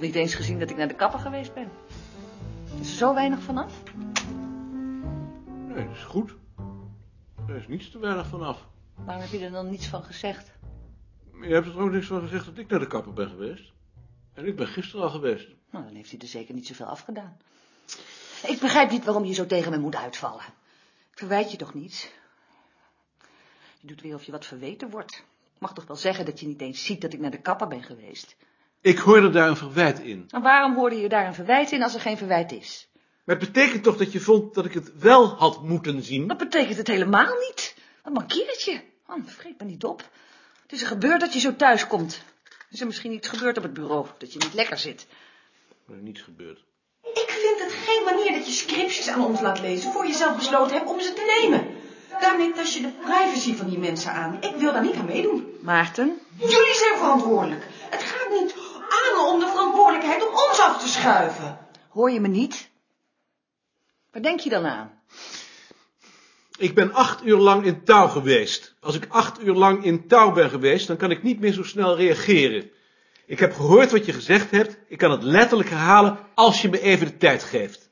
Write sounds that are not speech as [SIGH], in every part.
niet eens gezien dat ik naar de kapper geweest ben. Is er zo weinig vanaf? Nee, dat is goed. Er is niets te weinig vanaf. Waarom heb je er dan niets van gezegd? Je hebt er ook niks van gezegd dat ik naar de kapper ben geweest. En ik ben gisteren al geweest. Nou, dan heeft hij er zeker niet zoveel afgedaan. Ik begrijp niet waarom je zo tegen me moet uitvallen. Ik verwijt je toch niets? Je doet weer of je wat verweten wordt. Ik mag toch wel zeggen dat je niet eens ziet dat ik naar de kapper ben geweest. Ik hoorde daar een verwijt in. En waarom hoorde je daar een verwijt in als er geen verwijt is? Maar het betekent toch dat je vond dat ik het wel had moeten zien? Dat betekent het helemaal niet. Wat mankeert je? Man, vreet me niet op. Het is er gebeurd dat je zo thuis komt. Is er misschien iets gebeurd op het bureau, dat je niet lekker zit? Er is niets gebeurd. Ik vind het geen manier dat je scriptjes aan ons laat lezen voor je zelf besloten hebt om ze te nemen. Daarmee tast je de privacy van die mensen aan. Ik wil daar niet aan meedoen. Maarten? Jullie zijn verantwoordelijk. Het gaat niet aan om de verantwoordelijkheid om ons af te schuiven. Hoor je me niet? Waar denk je dan aan? Ik ben acht uur lang in touw geweest. Als ik acht uur lang in touw ben geweest, dan kan ik niet meer zo snel reageren. Ik heb gehoord wat je gezegd hebt. Ik kan het letterlijk herhalen als je me even de tijd geeft.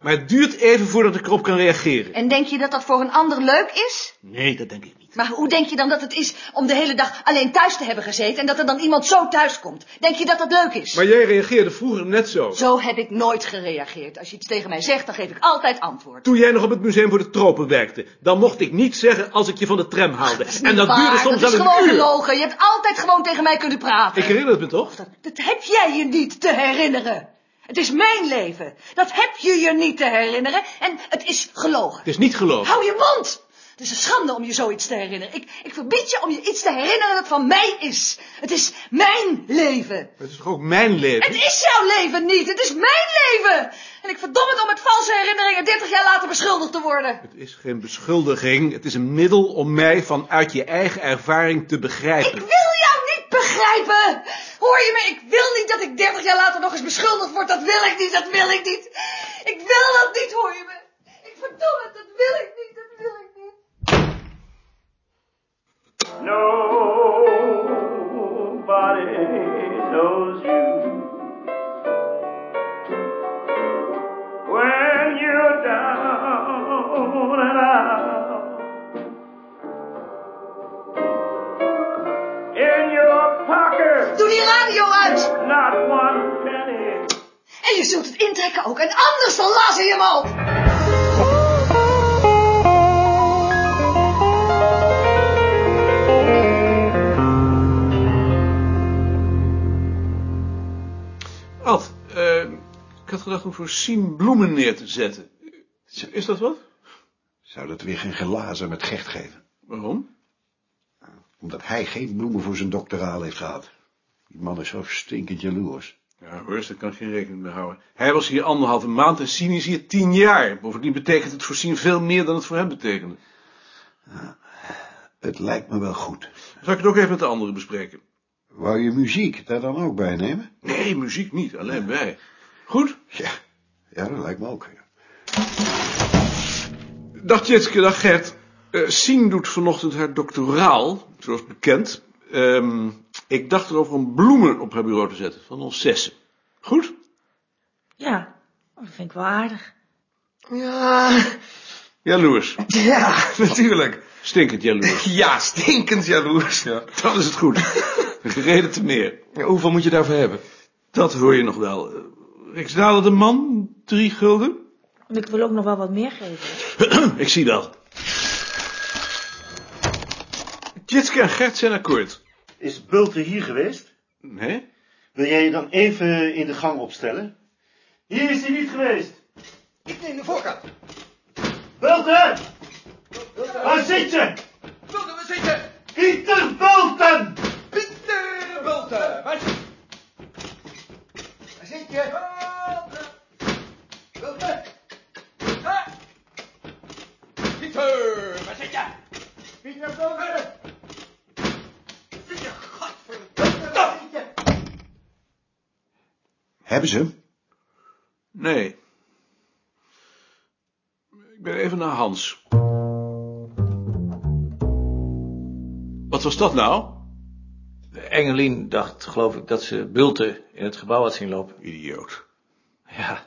Maar het duurt even voordat ik erop kan reageren. En denk je dat dat voor een ander leuk is? Nee, dat denk ik niet. Maar hoe denk je dan dat het is om de hele dag alleen thuis te hebben gezeten en dat er dan iemand zo thuis komt? Denk je dat dat leuk is? Maar jij reageerde vroeger net zo. Zo heb ik nooit gereageerd. Als je iets tegen mij zegt, dan geef ik altijd antwoord. Toen jij nog op het Museum voor de Tropen werkte, dan mocht ik niet zeggen als ik je van de tram haalde. is en niet dat waar, duurde soms dat is wel een gewoon uur. gelogen. Je hebt altijd gewoon tegen mij kunnen praten. Ik herinner het me toch? Dat heb jij je niet te herinneren. Het is mijn leven. Dat heb je je niet te herinneren. En het is gelogen. Het is niet geloof. Hou je mond! Het is een schande om je zoiets te herinneren. Ik, ik verbied je om je iets te herinneren dat van mij is. Het is mijn leven. Het is toch ook mijn leven? Het is jouw leven niet. Het is mijn leven. En ik verdom het om met valse herinneringen 30 jaar later beschuldigd te worden. Het is geen beschuldiging. Het is een middel om mij vanuit je eigen ervaring te Ik begrijpen. wil jou niet begrijpen. Hoor je me? Ik wil niet dat ik 30 jaar later nog eens beschuldigd word. Dat wil ik niet. Dat wil ik niet. Ik wil dat niet, hoor je me? Ik verdom het. Dat wil ik niet. Dat wil ik niet. Nobody knows you. When you're down and out, in your pocket, Doe die radio uit. not one penny. En je zult het intrekken ook. En anders dan lazen je hem op. Ad, eh, ik had gedacht om voor Sien bloemen neer te zetten. Is dat wat? Zou dat weer geen glazen met Gert geven? Waarom? Omdat hij geen bloemen voor zijn doctoraal heeft gehad. Die man is zo stinkend jaloers. Ja, Horst, daar kan ik geen rekening mee houden. Hij was hier anderhalve maand en Sien is hier tien jaar. Bovendien betekent het voor Sien veel meer dan het voor hem betekende. Het lijkt me wel goed. Zal ik het ook even met de anderen bespreken? Wou je muziek daar dan ook bij nemen? Nee, muziek niet, alleen wij. Goed? Ja, ja dat lijkt me ook. ja. Dag Jitske, dag Gert. Eh, Sien doet vanochtend haar doctoraal, zoals bekend. Ehm, ik dacht erover om bloemen op haar bureau te zetten, van ons zessen. Goed? Ja, oh, dat vind ik wel aardig. Ja, Jaloers. [LAUGHS] [LAUGHS] ja, natuurlijk. Stinkend [LAUGHS] jaloers. Ja, stinkend jaloers. Ja. [LAUGHS] Dan is het goed. Een Reden te meer. Ja, hoeveel moet je daarvoor hebben? Dat hoor je nog wel. Eh, Riksdalen de man, drie [CLEARS THROAT] gulden. Ik wil ook nog wel wat meer geven. ik zie wel. Jitske en Gert zijn akkoord. Is Bulte hier geweest? Nee? Wil jij je dan even in de gang opstellen? Hier is hij niet geweest! Ik neem de voorkant. Bulte! Waar zit je? Zullen we zitten? Pieter Bulten! Pieter Bulten. Waar zit Waar zit je? Bulten. Bulten. Bulten. Pieter. Waar zit je? Pieter Bulten. Zit je? Godverdomme. Waar zit je? Hebben ze hem? Nee. Ik ben even naar Hans. Wat was dat nou? Engelien dacht, geloof ik, dat ze Bulten in het gebouw had zien lopen. Idioot. Ja,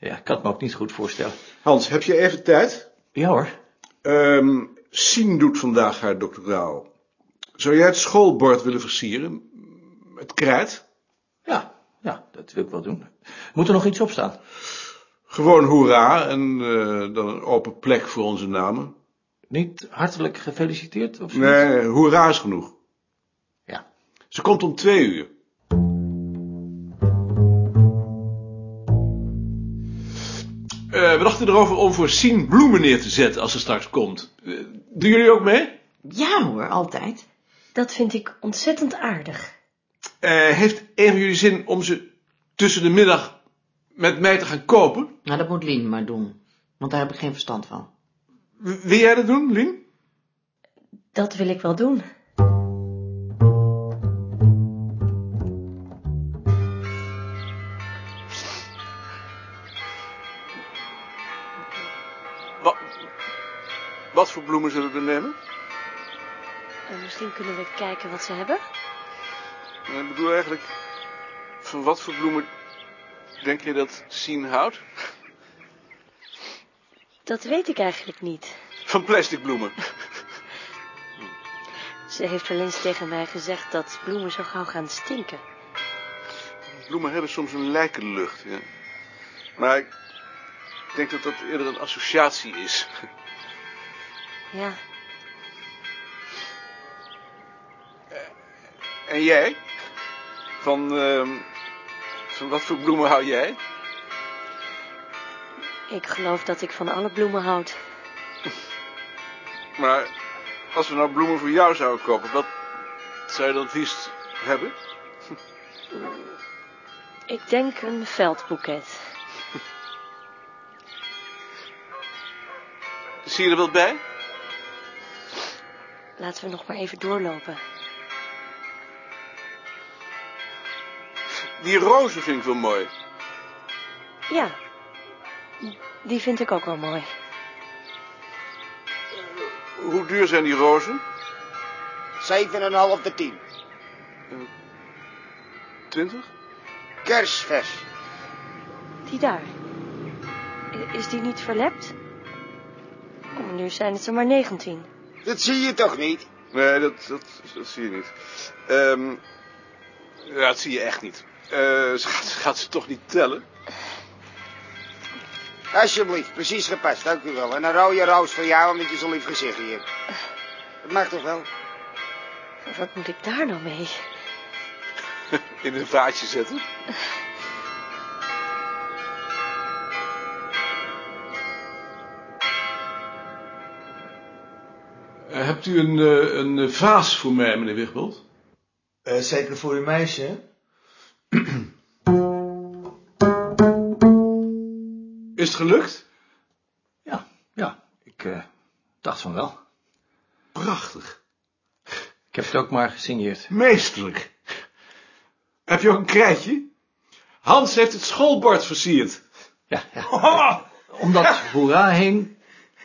ja, ik kan het me ook niet goed voorstellen. Hans, heb je even tijd? Ja hoor. Ehm Sien doet vandaag haar doctoraal. Zou jij het schoolbord willen versieren? Het krijt? Ja, ja, dat wil ik wel doen. Moet er nog iets op staan? Gewoon hoera en eh, dan een open plek voor onze namen. Niet hartelijk gefeliciteerd of zoiets? Nee, hoera is genoeg. Ja. Ze komt om twee uur. Eh, we dachten erover om voor Sien bloemen neer te zetten als ze straks komt. Eh, doen jullie ook mee? Ja hoor, altijd. Dat vind ik ontzettend aardig. Eh, heeft een van jullie zin om ze tussen de middag met mij te gaan kopen? Nou, dat moet Lien maar doen. Want daar heb ik geen verstand van. W- wil jij dat doen, Lien? Dat wil ik wel doen. Wat, wat voor bloemen zullen we nemen? misschien kunnen we kijken wat ze hebben. Eh, Ik bedoel eigenlijk, van wat voor bloemen denk je dat Sien houdt? Dat weet ik eigenlijk niet. Van plastic bloemen. Ze heeft wel eens tegen mij gezegd dat bloemen zo gauw gaan stinken. Bloemen hebben soms een lijkenlucht, ja. Maar ik denk dat dat eerder een associatie is. Ja, En jij? Van, ehm, van wat voor bloemen hou jij? ik geloof dat ik van alle bloemen houd. Maar als we nou bloemen voor jou zouden kopen, wat zou je dan het liefst hebben? Ik denk een veldboeket. Zie je er wat bij? Laten we nog maar even doorlopen. Die rozen vind ik wel mooi. Ja, die vind ik ook wel mooi. Hoe duur zijn die rozen? 7,5 de 10. Twintig? Kersvers. Die daar. I- Is die niet verlept? Oh, nu zijn het er maar 19. Dat zie je toch niet? Nee, dat, dat, dat zie je niet. Ehm, ja, dat zie je echt niet. Eh, ze, gaat, ze gaat ze toch niet tellen? Alsjeblieft, precies gepast, dank u wel. En een rode roos voor jou, omdat je zo'n lief gezichtje hebt. Dat mag toch wel? Wat moet ik daar nou mee? In een vaatje zetten? Eh, hebt u een, een vaas voor mij, meneer Wigbold? Eh, zeker voor uw meisje. Is het gelukt? Ja, ja, ik eh, dacht van wel. Prachtig. Ik heb het ook maar gesigneerd. Meesterlijk. Heb je ook een krijtje? Hans heeft het schoolbord versierd. Ja, ja. Om dat hoera heen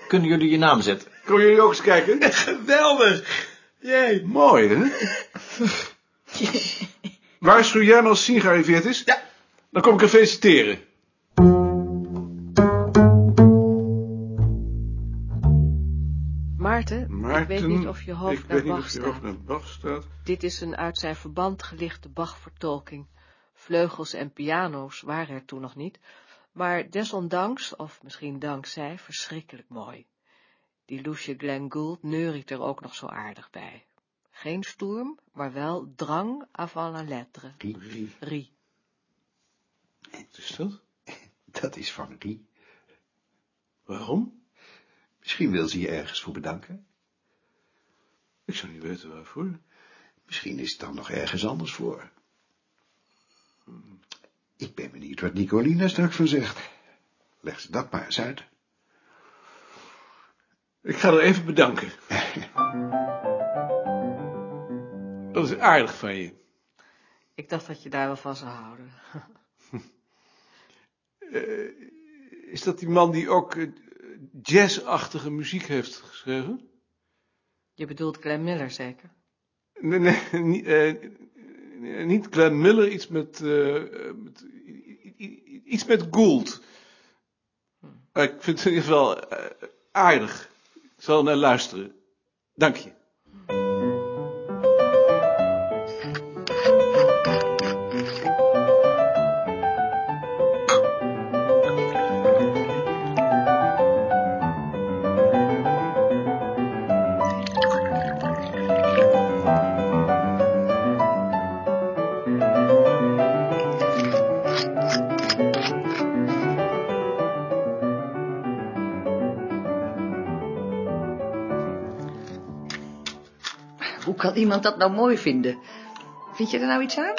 kunnen jullie je naam zetten. Komen jullie ook eens [LAUGHS] kijken? Geweldig! Jee. Mooi, hè? Waarschuw jij me als Sien gearriveerd is? Ja. Dan kom ik haar feliciteren. Maarten, Maarten, ik weet niet of je hoofd ik naar weet niet Bach of je hoofd staat. naar Bach staat. Dit is een uit zijn verband gelichte Bach-vertolking. Vleugels en piano's waren er toen nog niet, maar desondanks, of misschien dankzij, verschrikkelijk mooi. Die Lucia Glenn Gould neuriet er ook nog zo aardig bij. Geen stoerm, maar wel drang avant la lettre. Rie, Rie. Wat is dat? [LAUGHS] dat is van Rie. Waarom? Misschien wil ze je ergens voor bedanken. Ik zou niet weten waarvoor. Misschien is het dan nog ergens anders voor. Hmm. Ik ben benieuwd wat Nicolina straks van zegt. Leg ze dat maar eens uit. Ik ga haar even [LAUGHS] bedanken. dat is aardig van je. Ik dacht dat je daar wel van zou houden. Is dat die man die ook eh, jazzachtige muziek heeft geschreven? Je bedoelt Glenn Miller zeker? Nee, nee, [LAUGHS] niet, eh, Eh, Niet Glenn Miller, iets met, eh, eh, met i- i- iets met Gould. Maar ik vind het in ieder geval eh, aardig. Ik zal naar luisteren. Dank je. Hoe kan iemand dat nou mooi vinden? Vind je er nou iets aan?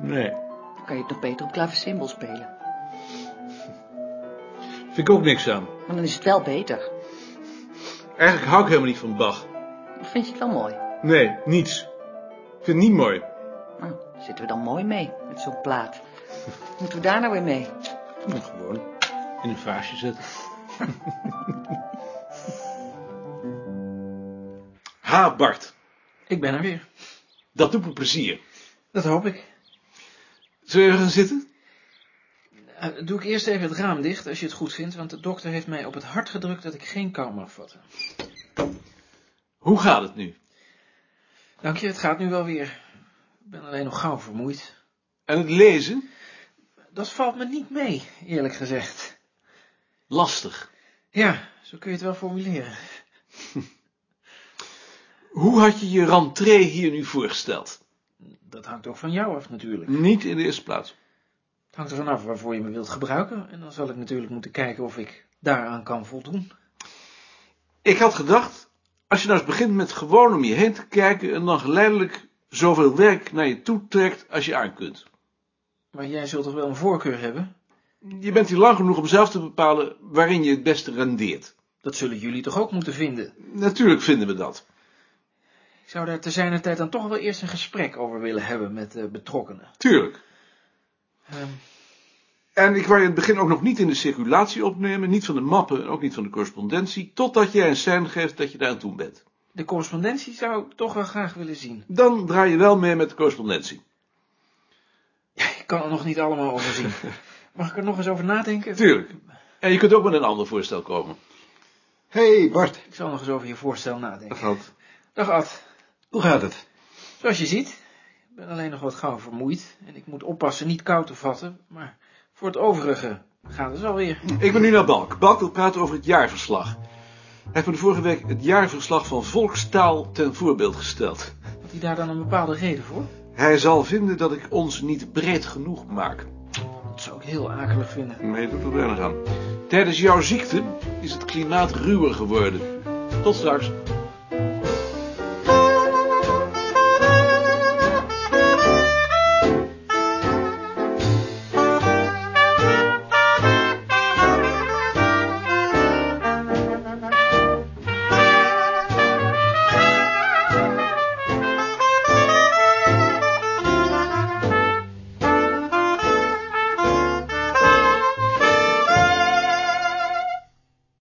Nee. Dan kan je het nog beter op klaversymbol spelen. Vind ik ook niks aan. Maar dan is het wel beter. Eigenlijk hou ik helemaal niet van Bach. Dan vind je het wel mooi. Nee, niets. Ik vind het niet mooi. Nou, zitten we dan mooi mee met zo'n plaat. Moeten we daar nou weer mee? Nou, gewoon in een vaasje zetten. [LAUGHS] ha, Bart. Ik ben er weer. Dat doet me plezier. Dat hoop ik. Zullen we even gaan zitten? Eh, Doe ik eerst even het raam dicht, als je het goed vindt, want de dokter heeft mij op het hart gedrukt dat ik geen kou mag vatten. Hoe gaat het nu? Dank je, het gaat nu wel weer. Ik ben alleen nog gauw vermoeid. En het lezen? Dat valt me niet mee, eerlijk gezegd. Lastig. Ja, zo kun je het wel formuleren. Hoe had je je rentree hier nu voorgesteld? Dat hangt ook van jou af natuurlijk. Niet in de eerste plaats. Het hangt er vanaf waarvoor je me wilt gebruiken. En dan zal ik natuurlijk moeten kijken of ik daaraan kan voldoen. Ik had gedacht, als je nou eens begint met gewoon om je heen te kijken en dan geleidelijk zoveel werk naar je toe trekt als je aan kunt. Maar jij zult toch wel een voorkeur hebben? Je bent hier lang genoeg om zelf te bepalen waarin je het beste rendeert. Dat zullen jullie toch ook moeten vinden? Natuurlijk vinden we dat. Ik zou daar te zijner tijd dan toch wel eerst een gesprek over willen hebben met eh, betrokkenen. Tuurlijk. Ehm, En ik wou je in het begin ook nog niet in de circulatie opnemen, niet van de mappen en ook niet van de correspondentie, totdat jij een sein geeft dat je daar aan toe bent. de correspondentie zou ik toch wel graag willen zien. Dan draai je wel mee met de correspondentie. Ik kan er nog niet allemaal over zien. Mag ik er nog eens over nadenken? Tuurlijk. En je kunt ook met een ander voorstel komen. Hé, hey Bart. Ik zal nog eens over je voorstel nadenken. Wat? Dag Ad. Hoe gaat het? Zoals je ziet, ik ben alleen nog wat gauw vermoeid. En ik moet oppassen niet koud te vatten. Maar voor het overige gaat het wel weer. Ik ben nu naar Balk. Balk wil praten over het jaarverslag. Hij heeft me de vorige week het jaarverslag van Volkstaal ten voorbeeld gesteld. Had hij daar dan een bepaalde reden voor? Hij zal vinden dat ik ons niet breed genoeg maak. Dat zou ik heel akelig vinden. Nee, doet er weinig aan. Tijdens jouw ziekte is het klimaat ruwer geworden. Tot straks.